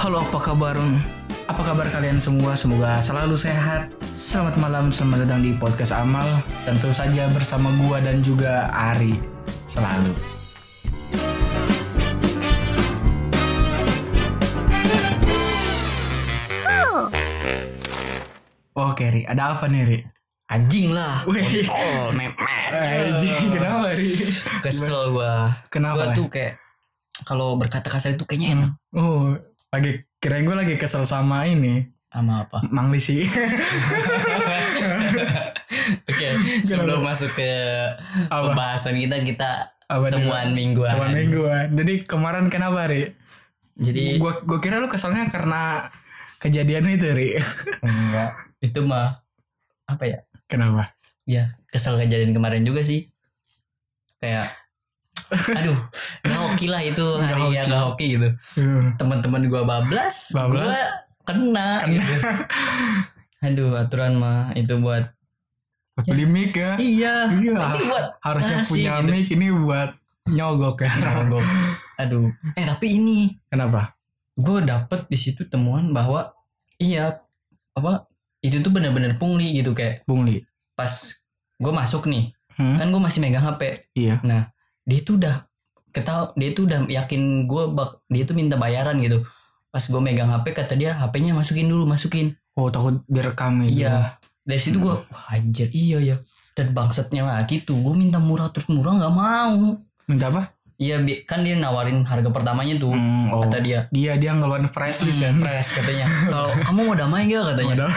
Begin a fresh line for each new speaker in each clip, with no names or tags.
Halo, apa kabar? Apa kabar kalian semua? Semoga selalu sehat. Selamat malam, selamat datang di podcast Amal. Tentu saja bersama gua dan juga Ari. Selalu.
Oh.
Oke, Ri. Ada apa nih, Ri?
Anjing lah.
Wih.
Oh, memet. Eh.
Anjing, Eh, kenapa, ya? Ri?
Kesel gua. Gua
Kenapa?
tuh kayak kalau berkata kasar itu kayaknya enak.
Oh, lagi kirain gue lagi kesel sama ini,
Sama apa?
Mang Lisi.
Oke, sebelum masuk ke
Apa?
pembahasan kita kita
Apa nih?
temuan mingguan.
Teman mingguan. eh. Jadi kemarin kenapa, Ri?
Jadi
Gua gua kira lu keselnya karena kejadian itu, Ri.
enggak. Itu mah apa ya?
Kenapa?
Ya, kesel kejadian kemarin juga sih. Kayak aduh, nggak hoki lah itu hari
Nggak
yang
hoki.
nggak hoki gitu.
Uh,
Teman-teman gua bablas,
Bablas.
gua kena, gitu. Aduh, aturan mah itu buat
Beli mic ya.
Iya.
Iya.
Ini buat
Harusnya
ngasih
punya
gitu.
mic ini buat nyogok ya.
Nyogok. Aduh. Eh tapi ini
Kenapa?
gue dapet di situ temuan bahwa iya apa itu tuh bener-bener pungli gitu kayak
Bung Li.
pas gue masuk nih
Hmm?
kan gue masih megang HP
Iya.
nah dia tuh udah ketau dia tuh udah yakin gue bak dia tuh minta bayaran gitu pas gue megang HP kata dia HP-nya masukin dulu masukin
Oh, takut direkam itu.
iya dari situ gue aja iya ya dan bangsatnya lagi tuh gue minta murah terus murah nggak mau
Minta apa?
Iya bi- kan dia nawarin harga pertamanya tuh
Hmm, oh.
kata dia
Dia dia ngeluarin fresh list ya.
"Hmm, Iya. Pres katanya kalau kamu mau damai gak katanya
Padahal-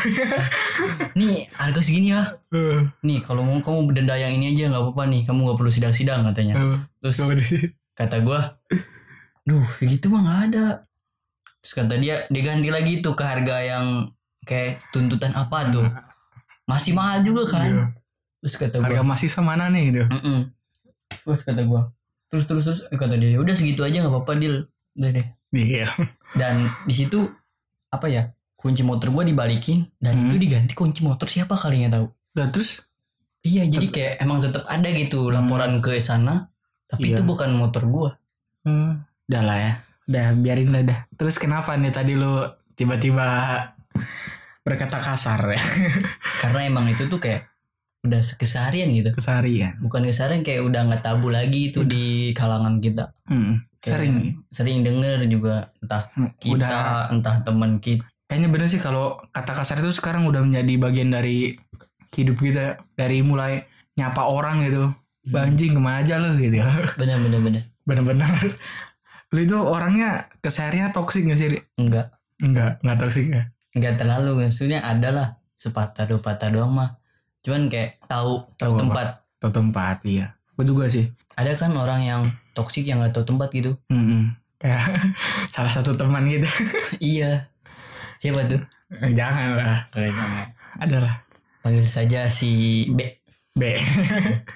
nih harga segini ya
Eh,
nih kalau mau kamu denda yang ini aja nggak apa-apa nih kamu nggak perlu sidang-sidang katanya
eh,
terus
gua di sini.
kata gua duh gitu mah nggak ada terus kata dia diganti lagi tuh ke harga yang kayak tuntutan apa tuh masih mahal juga kan
Hmm. Iya.
terus kata gua
Harga mahasiswa mana nih itu?
Mm-mm. terus kata gua terus terus terus Eh, kata dia udah segitu aja nggak apa-apa deal udah deh
Iya.
dan di situ apa ya kunci motor gua dibalikin dan
Hmm.
itu diganti kunci motor siapa kali nggak tahu
Nah, terus
iya jadi kayak emang tetap ada gitu laporan ke sana tapi
Hmm. Iya.
itu bukan motor gua
hmm, udah lah ya. Udah biarin lah dah. Terus kenapa nih tadi lu tiba-tiba berkata kasar ya?
karena emang itu tuh kayak udah keseharian gitu
Keseharian.
bukan keseharian kayak udah nggak tabu lagi itu di kalangan kita
Hmm,
Kayak
sering nih.
sering denger juga entah
Hmm,
kita
Udah
entah teman kita
kayaknya bener sih kalau kata kasar itu sekarang udah menjadi bagian dari hidup kita dari mulai nyapa orang gitu
Hmm,
banjing kemana aja lu gitu
bener bener bener
bener-bener lu itu orangnya kesehariannya toksik gak sih Ri?
enggak
enggak enggak toksik ya
nggak terlalu maksudnya ada lah sepatah dua patah doang mah cuman kayak tahu
Tahu
tahu
apa?
tempat
tau tempat iya gue juga sih
ada kan orang yang toksik yang nggak tahu tempat gitu
Mm-mm. Kayak hmm. salah satu teman gitu
iya siapa tuh
jangan lah ada lah
panggil saja si B
B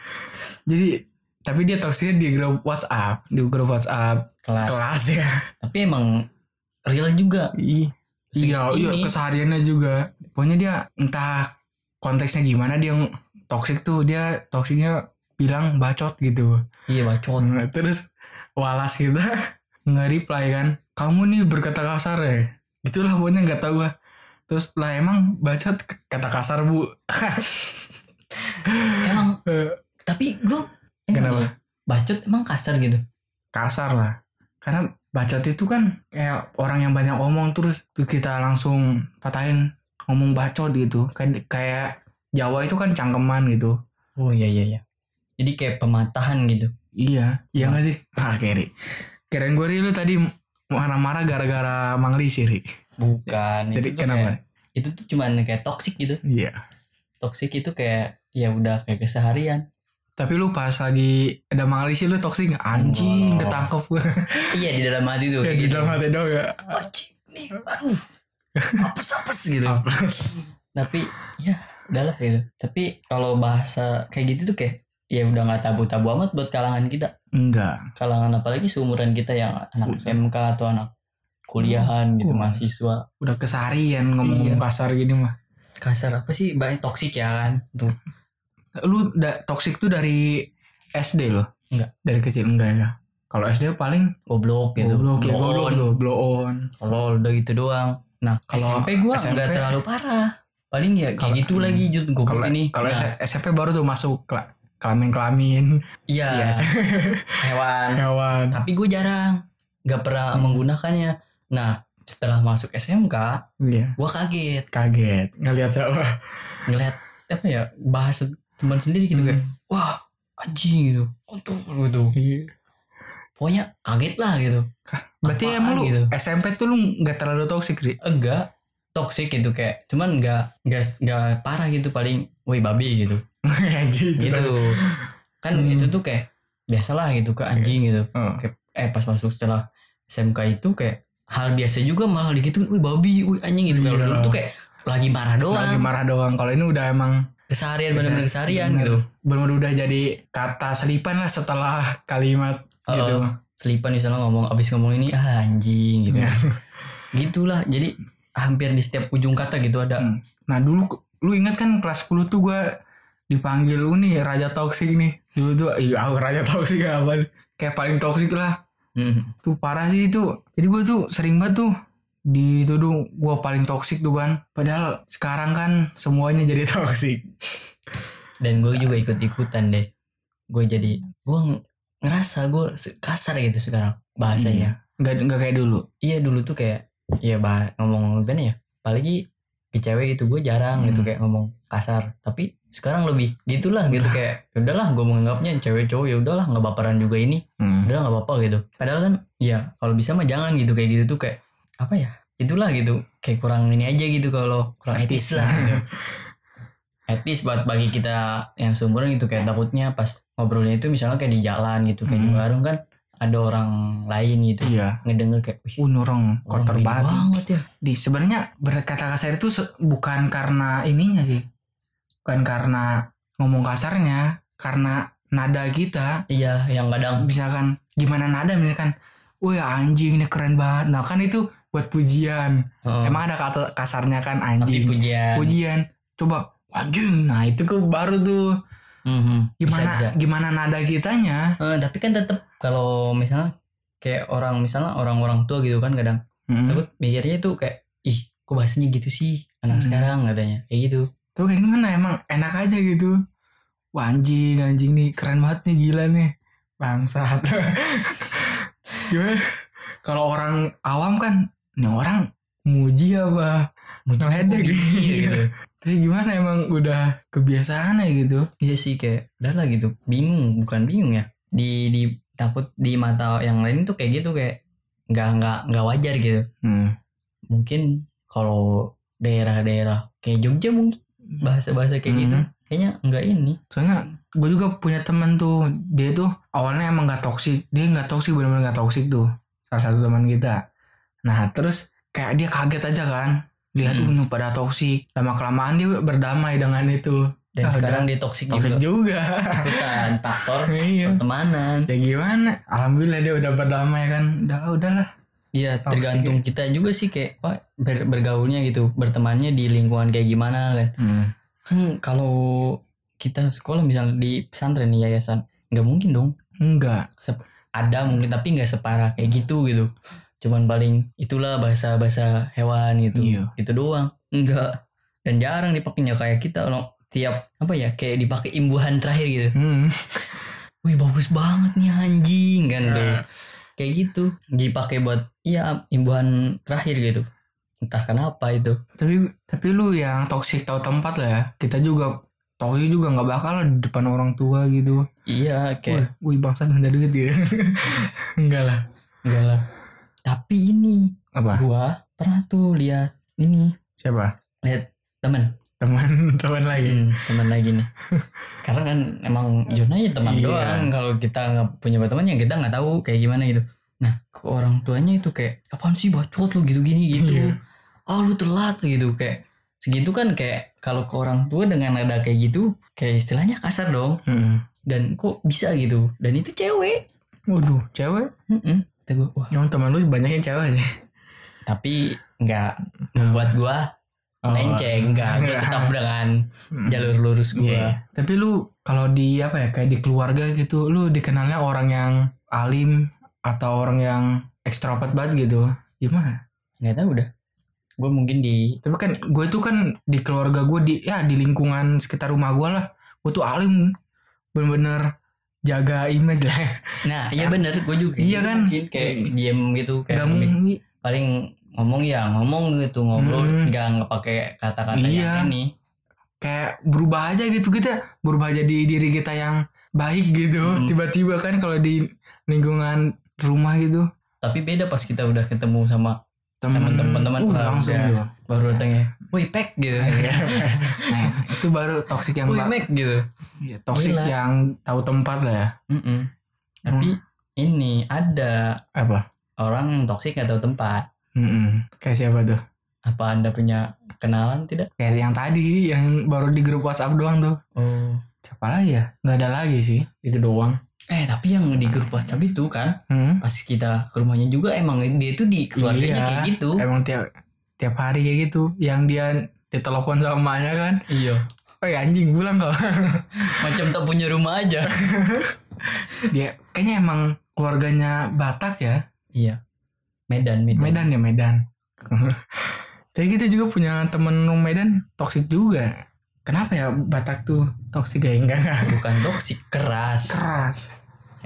jadi tapi dia toksiknya di grup WhatsApp di grup WhatsApp
kelas
kelas ya
tapi emang real juga
Ih,
Si
iya, iya
ini.
kesehariannya juga. Pokoknya dia entah konteksnya gimana dia ng- toxic tuh dia toksiknya bilang bacot gitu.
iya bacot
Nah, Terus walas kita nggak reply kan. Kamu nih berkata kasar ya. Itulah pokoknya nggak tahu gua. Terus lah emang bacot k- kata kasar bu.
emang
Eh,
tapi gue
Kenapa?
bacot emang kasar gitu
kasar lah. Karena bacot itu kan kayak orang yang banyak omong terus kita langsung patahin ngomong bacot gitu. Kayak kayak Jawa itu kan cangkeman gitu.
oh iya iya iya jadi kayak pematahan gitu
Iya, iya gak sih? Ah, Keri. Keren gue Ri, lu tadi marah-marah gara-gara Mang Lisi, Ri.
bukan
Jadi
Nah, itu ya. tuh kayak,
kenapa?
itu tuh cuman kayak toksik gitu
Iya.
toksik itu kayak ya udah kayak keseharian
Tapi lu pas lagi ada Mang Lisi lu toksik gak? Anjing,
Enggak.
ketangkep gue.
iya di dalam hati tuh
Ya
kayak
di
gitu.
dalam hati dong ya.
Wajib nih aduh apes apes gitu
Ah. Apes.
tapi ya udahlah gitu tapi kalau bahasa kayak gitu tuh kayak ya udah nggak tabu tabu amat buat kalangan kita
Enggak.
kalangan apalagi seumuran kita yang anak
Iya.
SMK atau anak kuliahan gitu
Hmm.
mahasiswa
Udah keseharian ngomong-ngomong kasar gini mah.
kasar apa sih banyak toksik ya kan tuh
Lu da toksik tuh dari SD loh?
Enggak.
Dari kecil enggak ya? Kalau SD paling
goblok gitu
goblok ya,
Blow
goblok
on.
tuh, blow on.
kalau udah gitu doang nah
Kalau
kalau SMP gua
SMP
nggak terlalu parah paling ya kayak
Kalau-
gitu lagi jut
Kalau
goblok ini
kalau
Nah,
S- SMP baru tuh masuk kela- kelamin-kelamin
iya
Yes.
hewan
hewan.
tapi gue jarang nggak pernah
Hmm.
menggunakannya nah setelah masuk SMK
Iya,
gua kaget
kaget ngelihat siapa.
ngeliat apa ya bahasa teman sendiri gitu kayak
Hmm.
wah anjing gitu untuk gitu
Iya.
pokoknya kaget lah gitu
Berarti
Apaan
emang lu
gitu?
SMP tuh lu nggak terlalu toksik, Ri?
enggak toxic gitu kayak cuman enggak enggak enggak parah gitu paling woi babi gitu
gitu.
gitu kan
Hmm.
itu tuh kayak biasalah gitu ke anjing gitu
Heeh.
eh pas masuk setelah SMK itu kayak hal biasa juga malah dikituin woi babi woi anjing gitu kalau
Iya.
dulu tuh kayak lagi marah doang
Lagi marah doang. Kalau ini udah emang
keseharian benar-benar keseharian
Bener.
gitu
benar udah jadi kata selipan lah setelah kalimat gitu.
gitu selipan di sana ngomong abis ngomong ini ah anjing gitu
Iya.
gitulah jadi hampir di setiap ujung kata gitu ada
Hmm. Nah dulu lu ingat kan kelas 10 tuh gue dipanggil lu nih raja toksik nih. Dulu tuh iya aku raja toksik apa kayak paling toksik lah.
Hmm.
Tuh parah sih itu. Jadi gue tuh sering banget tuh dituduh gue paling toksik tuh kan. Padahal sekarang kan semuanya jadi toksik.
dan gue juga ikut ikutan deh gue jadi gue ng- ngerasa gue se- kasar gitu sekarang bahasanya
Nggak nggak kayak dulu.
iya dulu tuh kayak ya bah ngomong gimana ya apalagi ke cewek gitu gue jarang
Hmm.
gitu kayak ngomong kasar tapi sekarang lebih gitulah gitu kayak "Ya udahlah gue menganggapnya cewek cowok ya udahlah nggak baperan juga ini udah nggak apa-apa gitu padahal kan ya kalau bisa mah jangan gitu kayak gitu tuh kayak apa ya itulah gitu kayak kurang ini aja gitu kalau kurang etis
Etis.
lah gitu. etis buat bagi kita yang seumuran gitu kayak takutnya pas ngobrolnya itu misalnya kayak di jalan gitu kayak di
Hmm.
warung kan ada orang lain gitu
Iya.
ngedenger kayak wih
Uh nurung
orang
kotor
gini
banget.
ya
di sebenarnya berkata kasar itu se- bukan karena ininya sih bukan karena ngomong kasarnya karena nada kita
iya yang kadang
misalkan gimana nada misalkan wah anjing ini keren banget nah kan itu buat pujian
heeh,
emang ada kata kasarnya kan
Oh. tapi
anjing
pujian
pujian coba anjing nah itu ke baru tuh
Mhm, bisa,
gimana
bisa.
gimana nada kitanya
Eh, tapi kan tetap kalau misalnya kayak orang misalnya orang-orang tua gitu kan kadang
Mm.
takut mikirnya itu kayak ih kok bahasanya gitu sih anak
Hmm.
sekarang katanya kayak gitu
Tapi kayak gimana emang enak aja gitu. Wah anjing, anjing nih keren banget nih gila nih. Bangsat. gimana? Kalau orang awam kan, nih orang muji apa?
Muncul
Ngeledek.
gitu
Tapi gimana emang udah kebiasaan ya gitu.
iya sih kayak udah lah gitu bingung bukan bingung ya di di takut di mata yang lain tuh kayak gitu kayak nggak nggak nggak wajar gitu mungkin kalau daerah-daerah kayak Jogja mungkin bahasa-bahasa kayak gitu
Hmm.
kayaknya nggak ini
Soalnya gue juga punya temen tuh, dia tuh awalnya emang gak toksik. Dia gak toksik, bener-bener gak toksik tuh. Salah satu teman kita. Nah terus kayak dia kaget aja kan. Lihat
Hmm.
"Uh, nih pada toksik. Lama-kelamaan dia berdamai dengan itu. Ah,
dan sekarang dia toksik
Toxic juga.
juga ikutan faktor
iya.
pertemanan
Ya gimana? Alhamdulillah dia udah berdamai kan. Udah udahlah.
Iya
Toxic
tergantung kita juga sih kayak apa ber- bergaulnya gitu bertemannya di lingkungan kayak gimana kan kan kalau kita sekolah misalnya di pesantren nih yayasan nggak mungkin dong
Enggak.
Sep- ada mungkin tapi nggak separah kayak gitu gitu cuman paling itulah bahasa bahasa hewan gitu
Iya.
gitu doang enggak dan jarang dipakainya kayak kita kalau tiap apa ya kayak dipakai imbuhan terakhir gitu
Hmm.
wih bagus banget nih anjing kan tuh
Eh.
kayak gitu dipakai buat iya imbuhan terakhir gitu entah kenapa itu
Tapi tapi lu yang toksik tahu tempat lah ya. Kita juga toksik juga nggak bakal lah di depan orang tua gitu. Wih,
iya kayak
wih bangsat minta duit gitu. Enggak lah.
enggak lah tapi ini
Apa?
gua pernah tuh lihat ini
Siapa?
lihat temen
Teman teman lagi.
Hmm, temen lagi nih karena kan emang Jona ya teman
Iya.
doang kalau kita nggak punya teman yang kita nggak tahu kayak gimana gitu nah ke orang tuanya itu kayak apaan sih bacot lu gitu gini gitu
Iya.
ah lu telat gitu kayak segitu kan kayak kalau ke orang tua dengan nada kayak gitu kayak istilahnya kasar dong
Mm.
dan kok bisa gitu dan itu cewek
Waduh, cewek.
Mm-mm. Kata gua, wah
Emang teman lu banyaknya cewek sih.
tapi nggak membuat gua lenceng nggak gua tetap dengan jalur lurus
Oh. Iya.
gua
Tapi lu kalau di apa ya kayak di keluarga gitu, lu dikenalnya orang yang alim atau orang yang ekstrovert banget gitu gimana
nggak tahu udah gue mungkin di
tapi kan gue tuh kan di keluarga gue di ya di lingkungan sekitar rumah gue lah gue tuh alim bener-bener jaga image lah
nah iya bener gue juga
Iya kan?
mungkin kayak diem gitu kayak
gak mungkin
paling ngomong ya ngomong gitu ngobrol
Hmm.
nggak nggak pakai kata-kata
Iya.
yang ini
kayak berubah aja gitu kita berubah jadi diri kita yang baik gitu
Mm.
tiba-tiba kan kalau di lingkungan rumah gitu
tapi beda pas kita udah ketemu sama Temen-temen,
Uh,
temen. Wah,
langsung
udah.
gitu.
baru datang ya woi pek gitu
nah itu baru toksik Iya, yang
woi
ba-
mek gitu
Iya, toksik
Gila.
yang tahu tempat lah ya
Mm-mm. tapi
Hmm.
ini ada
apa
orang yang toksik nggak tahu tempat
Mm-mm. kayak siapa tuh
apa anda punya kenalan tidak
kayak yang tadi yang baru di grup WhatsApp doang tuh
oh
siapa lagi ya nggak ada lagi sih itu doang
eh tapi yang di grup WhatsApp itu kan
Hmm?
pas kita ke rumahnya juga emang dia tuh di keluarganya
Iya.
kayak gitu
emang tiap tiap hari kayak gitu yang dia ditelepon sama emaknya kan
iya
oh anjing pulang kok
macam tak punya rumah aja
dia kayaknya emang keluarganya Batak ya
iya Medan Medan,
Medan ya Medan tapi kita juga punya temen Medan toksik juga kenapa ya Batak tuh toksik ya enggak enggak
bukan toksik keras
keras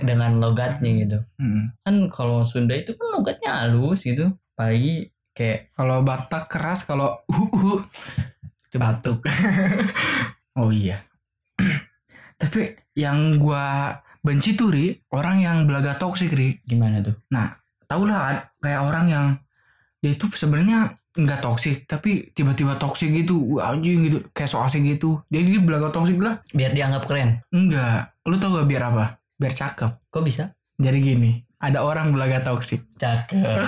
dengan logatnya gitu
Mm.
kan kalau Sunda itu kan logatnya halus gitu apalagi kayak
kalau Batak keras kalau uh, uh,
itu batuk
Oh iya. Tapi yang gua benci tuh Ri, orang yang belaga toksik Ri.
gimana tuh
Tau lah ad- kayak orang yang dia itu sebenarnya nggak toksik tapi tiba-tiba toksik gitu wah anjing gitu kayak so asik gitu jadi dia belaga toksik lah
biar dianggap keren
enggak lu tau gak biar apa biar cakep
kok bisa
jadi gini ada orang belaga toksik
cakep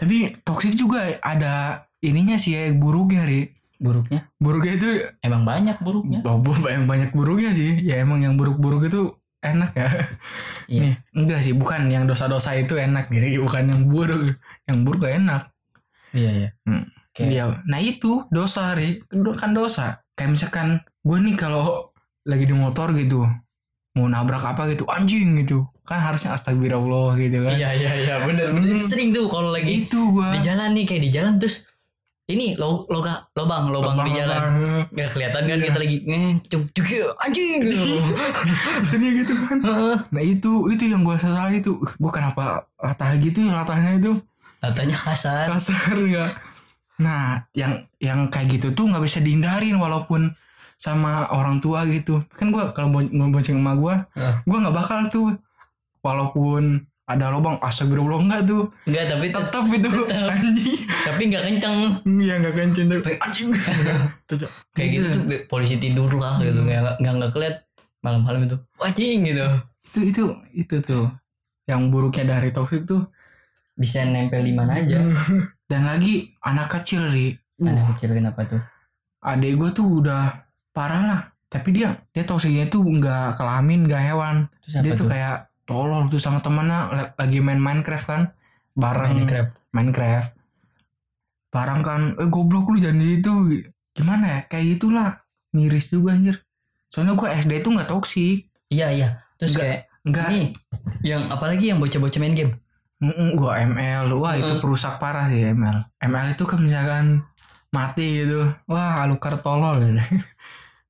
tapi toksik juga ada ininya sih ya buruknya ri
buruknya
buruknya itu
emang banyak buruknya
Bobo banyak banyak buruknya sih. Ya emang yang buruk-buruk itu enak ya.
Iya.
Nih, enggak sih, bukan yang dosa-dosa itu enak jadi bukan yang buruk. Yang buruk gak enak.
iya iya
Hmm.
Kayak
Iya. Nah, itu dosa, Ri. Itu kan dosa. Kayak misalkan gue nih kalau lagi di motor gitu mau nabrak apa gitu anjing gitu kan harusnya astagfirullah gitu kan Iya.
iya iya iya bener bener Itu
Hmm.
sering tuh kalau lagi
itu gua
di jalan nih kayak di jalan terus ini lo loga lobang lobang, di jalan
Lubang-lubang.
nggak kelihatan kan
Iya.
kita lagi eh cung cung cung, anjing gitu
sini gitu kan
Heeh.
nah itu itu yang gua sesali tuh Uh, gua kenapa latah gitu ya latahnya itu
katanya kasar
kasar ya. Nah, yang yang kayak gitu tuh nggak bisa dihindarin walaupun sama orang tua gitu. Kan gua kalau bon- mau bonceng sama gua,
Heeh.
gua nggak bakal tuh walaupun ada lobang astagfirullah enggak tuh.
nggak tapi tet-
Tetap itu anjing.
tapi nggak kencang
Iya nggak kenceng tapi anjing. Tetep.
kayak gitu, tuh kayak polisi tidur lah
Hmm.
gitu nggak nggak nggak keliat malam-malam itu anjing gitu
Itu itu itu tuh yang buruknya dari toxic tuh.
bisa nempel di mana aja
Dan lagi anak kecil ri. Uh,
anak kecil kenapa tuh
adek gue tuh udah parah lah tapi dia dia toksiknya tuh nggak kelamin nggak hewan
terus apa
dia tuh,
tuh
kayak tolol tuh sama temennya la- lagi main Minecraft kan bareng
Minecraft
Minecraft bareng kan eh goblok lu jangan di situ gimana ya kayak gitulah miris juga anjir soalnya gue SD tuh nggak toksik
iya iya terus
Nggak-
kayak
nggak
nih yang apalagi yang bocah-bocah main game
gue ML wah itu
Mm.
perusak parah sih ML ML itu kan misalkan mati gitu wah alukar tolol gitu.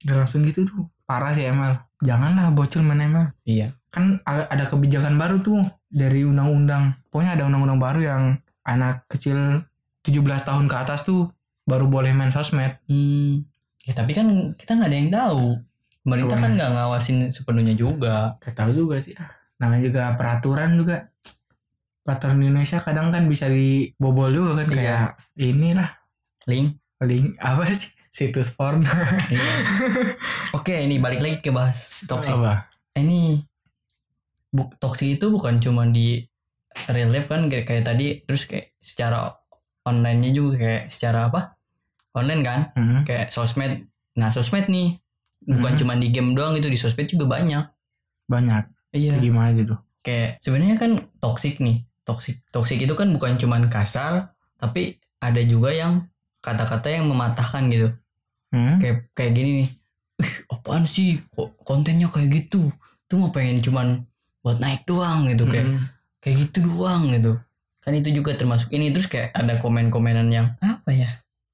udah langsung gitu tuh parah sih ML janganlah bocil main ML
iya
kan a- ada kebijakan baru tuh dari undang-undang pokoknya ada undang-undang baru yang anak kecil 17 tahun ke atas tuh baru boleh main sosmed
hmm. ya tapi kan kita nggak ada yang tahu pemerintah
Iya.
kan nggak ngawasin sepenuhnya juga
gak tahu juga sih ah. namanya juga peraturan juga peraturan Indonesia kadang kan bisa dibobol juga kan
Iya.
kayak inilah
link
link apa sih situs porno
Iya. oke ini balik lagi ke bahas toxic
Apa?
Eh, ini bu, toxic itu bukan cuma di real life kan kayak, kayak tadi terus kayak secara online-nya juga kayak secara apa online kan
Hmm.
kayak sosmed nah sosmed nih bukan
Hmm.
cuma di game doang itu di sosmed juga banyak
banyak
iya
gimana gitu
kayak sebenarnya kan toxic nih toxic toxic itu kan bukan cuma kasar tapi ada juga yang kata-kata yang mematahkan gitu
hmm?
kayak kayak gini nih Ih, apaan sih kok kontennya kayak gitu tuh mau pengen cuman buat naik doang gitu kayak
Mm-mm.
kayak gitu doang gitu kan itu juga termasuk ini terus kayak ada komen-komenan yang apa ya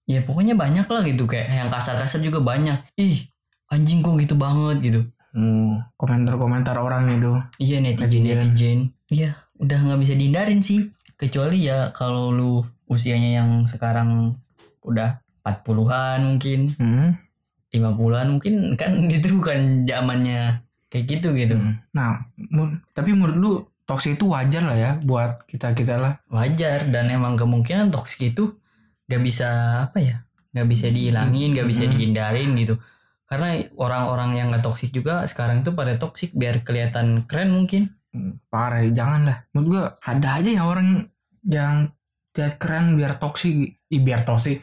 ya pokoknya banyak lah gitu kayak yang kasar-kasar juga banyak ih anjing kok gitu banget gitu
Hmm, komentar-komentar orang gitu. itu
iya
Netizen.
netizen netizen iya udah nggak bisa dihindarin sih kecuali ya kalau lu usianya yang sekarang udah 40-an mungkin
Hmm.
50-an mungkin kan gitu bukan zamannya kayak gitu gitu
Hmm. Nah, mu- tapi menurut lu toksi itu wajar lah ya buat kita kita lah.
wajar dan emang kemungkinan toksik itu gak bisa apa ya gak
Hmm.
bisa dihilangin gak bisa
Mm.
dihindarin gitu karena orang-orang yang gak toksik juga sekarang itu pada toksik biar kelihatan keren mungkin
Hmm, Parah, ya, jangan lah. Menurut gua ada aja yang orang yang lihat keren biar toksi, Ih, biar toksi,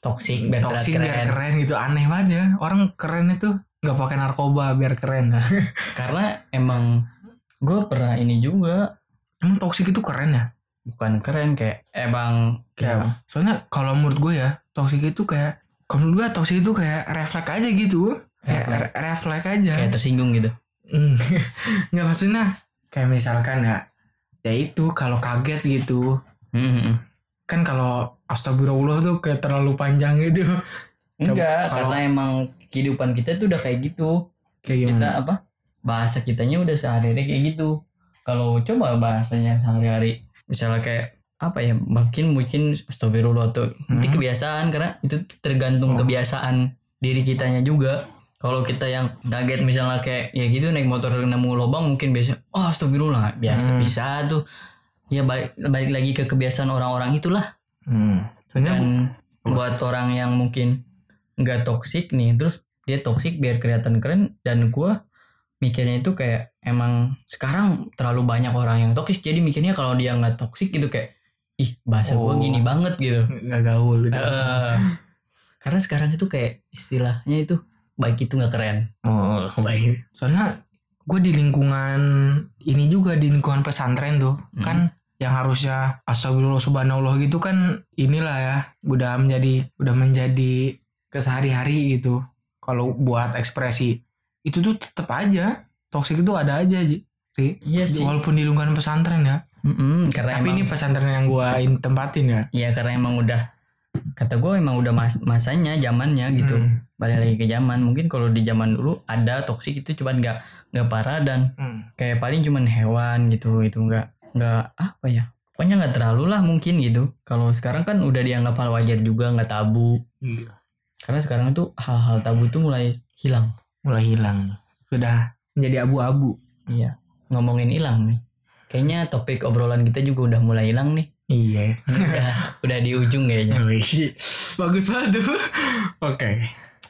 toksik biar
toksi
terlihat
biar
keren
keren gitu aneh banget ya. Orang keren itu nggak pakai narkoba biar keren.
Nah. karena emang gue pernah ini juga
Emang toksik itu keren ya?
bukan keren kayak emang
Kayak,
kayak
soalnya kalau menurut gue ya, toksik itu kayak, kalau menurut gue toksik itu kayak refleks aja gitu. Kayak ya. re-
Refleks.
refleks aja.
kayak tersinggung gitu
Hmm. Nggak maksudnya, kayak misalkan ya, ya itu kalau kaget gitu.
Mm-mm.
Kan kalau astagfirullah tuh kayak terlalu panjang gitu.
enggak
Kalau-
karena emang kehidupan kita tuh udah kayak gitu
Kayak
kita
gimana?
apa bahasa kitanya udah sehari-hari kayak gitu kalau coba bahasanya sehari-hari misalnya kayak apa ya mungkin mungkin astagfirullah tuh itu
Hmm.
kebiasaan karena itu tergantung
Oh.
kebiasaan diri kitanya juga kalau kita yang kaget misalnya kayak ya gitu naik motor nemu lubang mungkin biasa oh astagfirullah biasa
Hmm.
bisa tuh ya balik balik lagi ke kebiasaan orang-orang itulah
Hmm. Soalnya gua-
dan buat orang yang mungkin nggak toksik nih terus dia toksik biar kelihatan keren dan gua mikirnya itu kayak emang sekarang terlalu banyak orang yang toksik jadi mikirnya kalau dia nggak toksik gitu kayak ih bahasa gua
Oh.
gini banget gitu
nggak gaul gitu.
Eh, karena sekarang itu kayak istilahnya itu baik itu nggak keren
Oh, baik. Soalnya gue di lingkungan ini juga di lingkungan pesantren tuh
Hmm.
kan yang harusnya astagfirullah subhanallah gitu kan inilah ya udah menjadi udah menjadi kesehari-hari gitu kalau buat ekspresi itu tuh tetap aja toksik itu ada aja Ji. Ri.
iya sih
walaupun di lingkungan pesantren ya
Mm-mm, karena
tapi
emang-
ini pesantren yang gue tempatin ya
Iya karena emang udah kata gue emang udah mas masanya zamannya gitu
Hmm.
balik lagi ke zaman mungkin kalau di zaman dulu ada toksik itu cuman nggak nggak parah dan
Hmm.
kayak paling cuman hewan gitu gitu nggak nggak apa ya pokoknya nggak terlalu lah mungkin gitu kalau sekarang kan udah dianggap hal wajar juga nggak tabu
Iya.
karena sekarang tuh hal-hal tabu tuh mulai hilang
mulai hilang sudah menjadi abu-abu
ngomongin hilang nih kayaknya topik obrolan kita juga udah mulai hilang nih
iya
Ini udah udah di ujung kayaknya
Wih, Bagus banget tuh. Oke.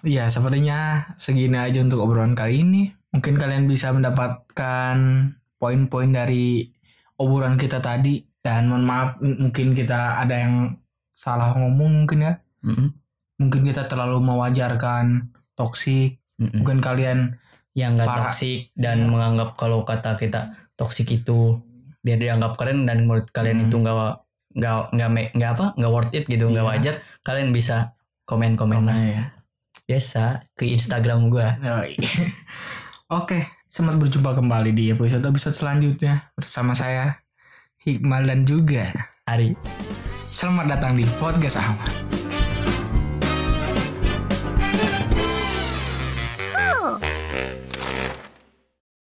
Iya, sepertinya segini aja untuk obrolan kali ini. Mungkin kalian bisa mendapatkan poin-poin dari obrolan kita tadi. Dan mohon maaf, m- mungkin kita ada yang salah ngomong mungkin ya.
Mm-mm,
Mungkin kita terlalu mewajarkan toksik.
mm-mm.
Mungkin kalian
yang nggak
Parah.
toksik
Iya.
dan menganggap kalau kata kita toksik itu biar dianggap keren dan menurut kalian
Hmm.
itu nggak wa- nggak nggak me- nggak apa nggak worth it gitu nggak
Iya.
wajar kalian bisa komen komen lah.
ya.
biasa ke Instagram gua
Yoi. Oke, selamat berjumpa kembali di episode-episode selanjutnya bersama saya Hikmal dan juga
Ari
Selamat datang di podcast Ahmad.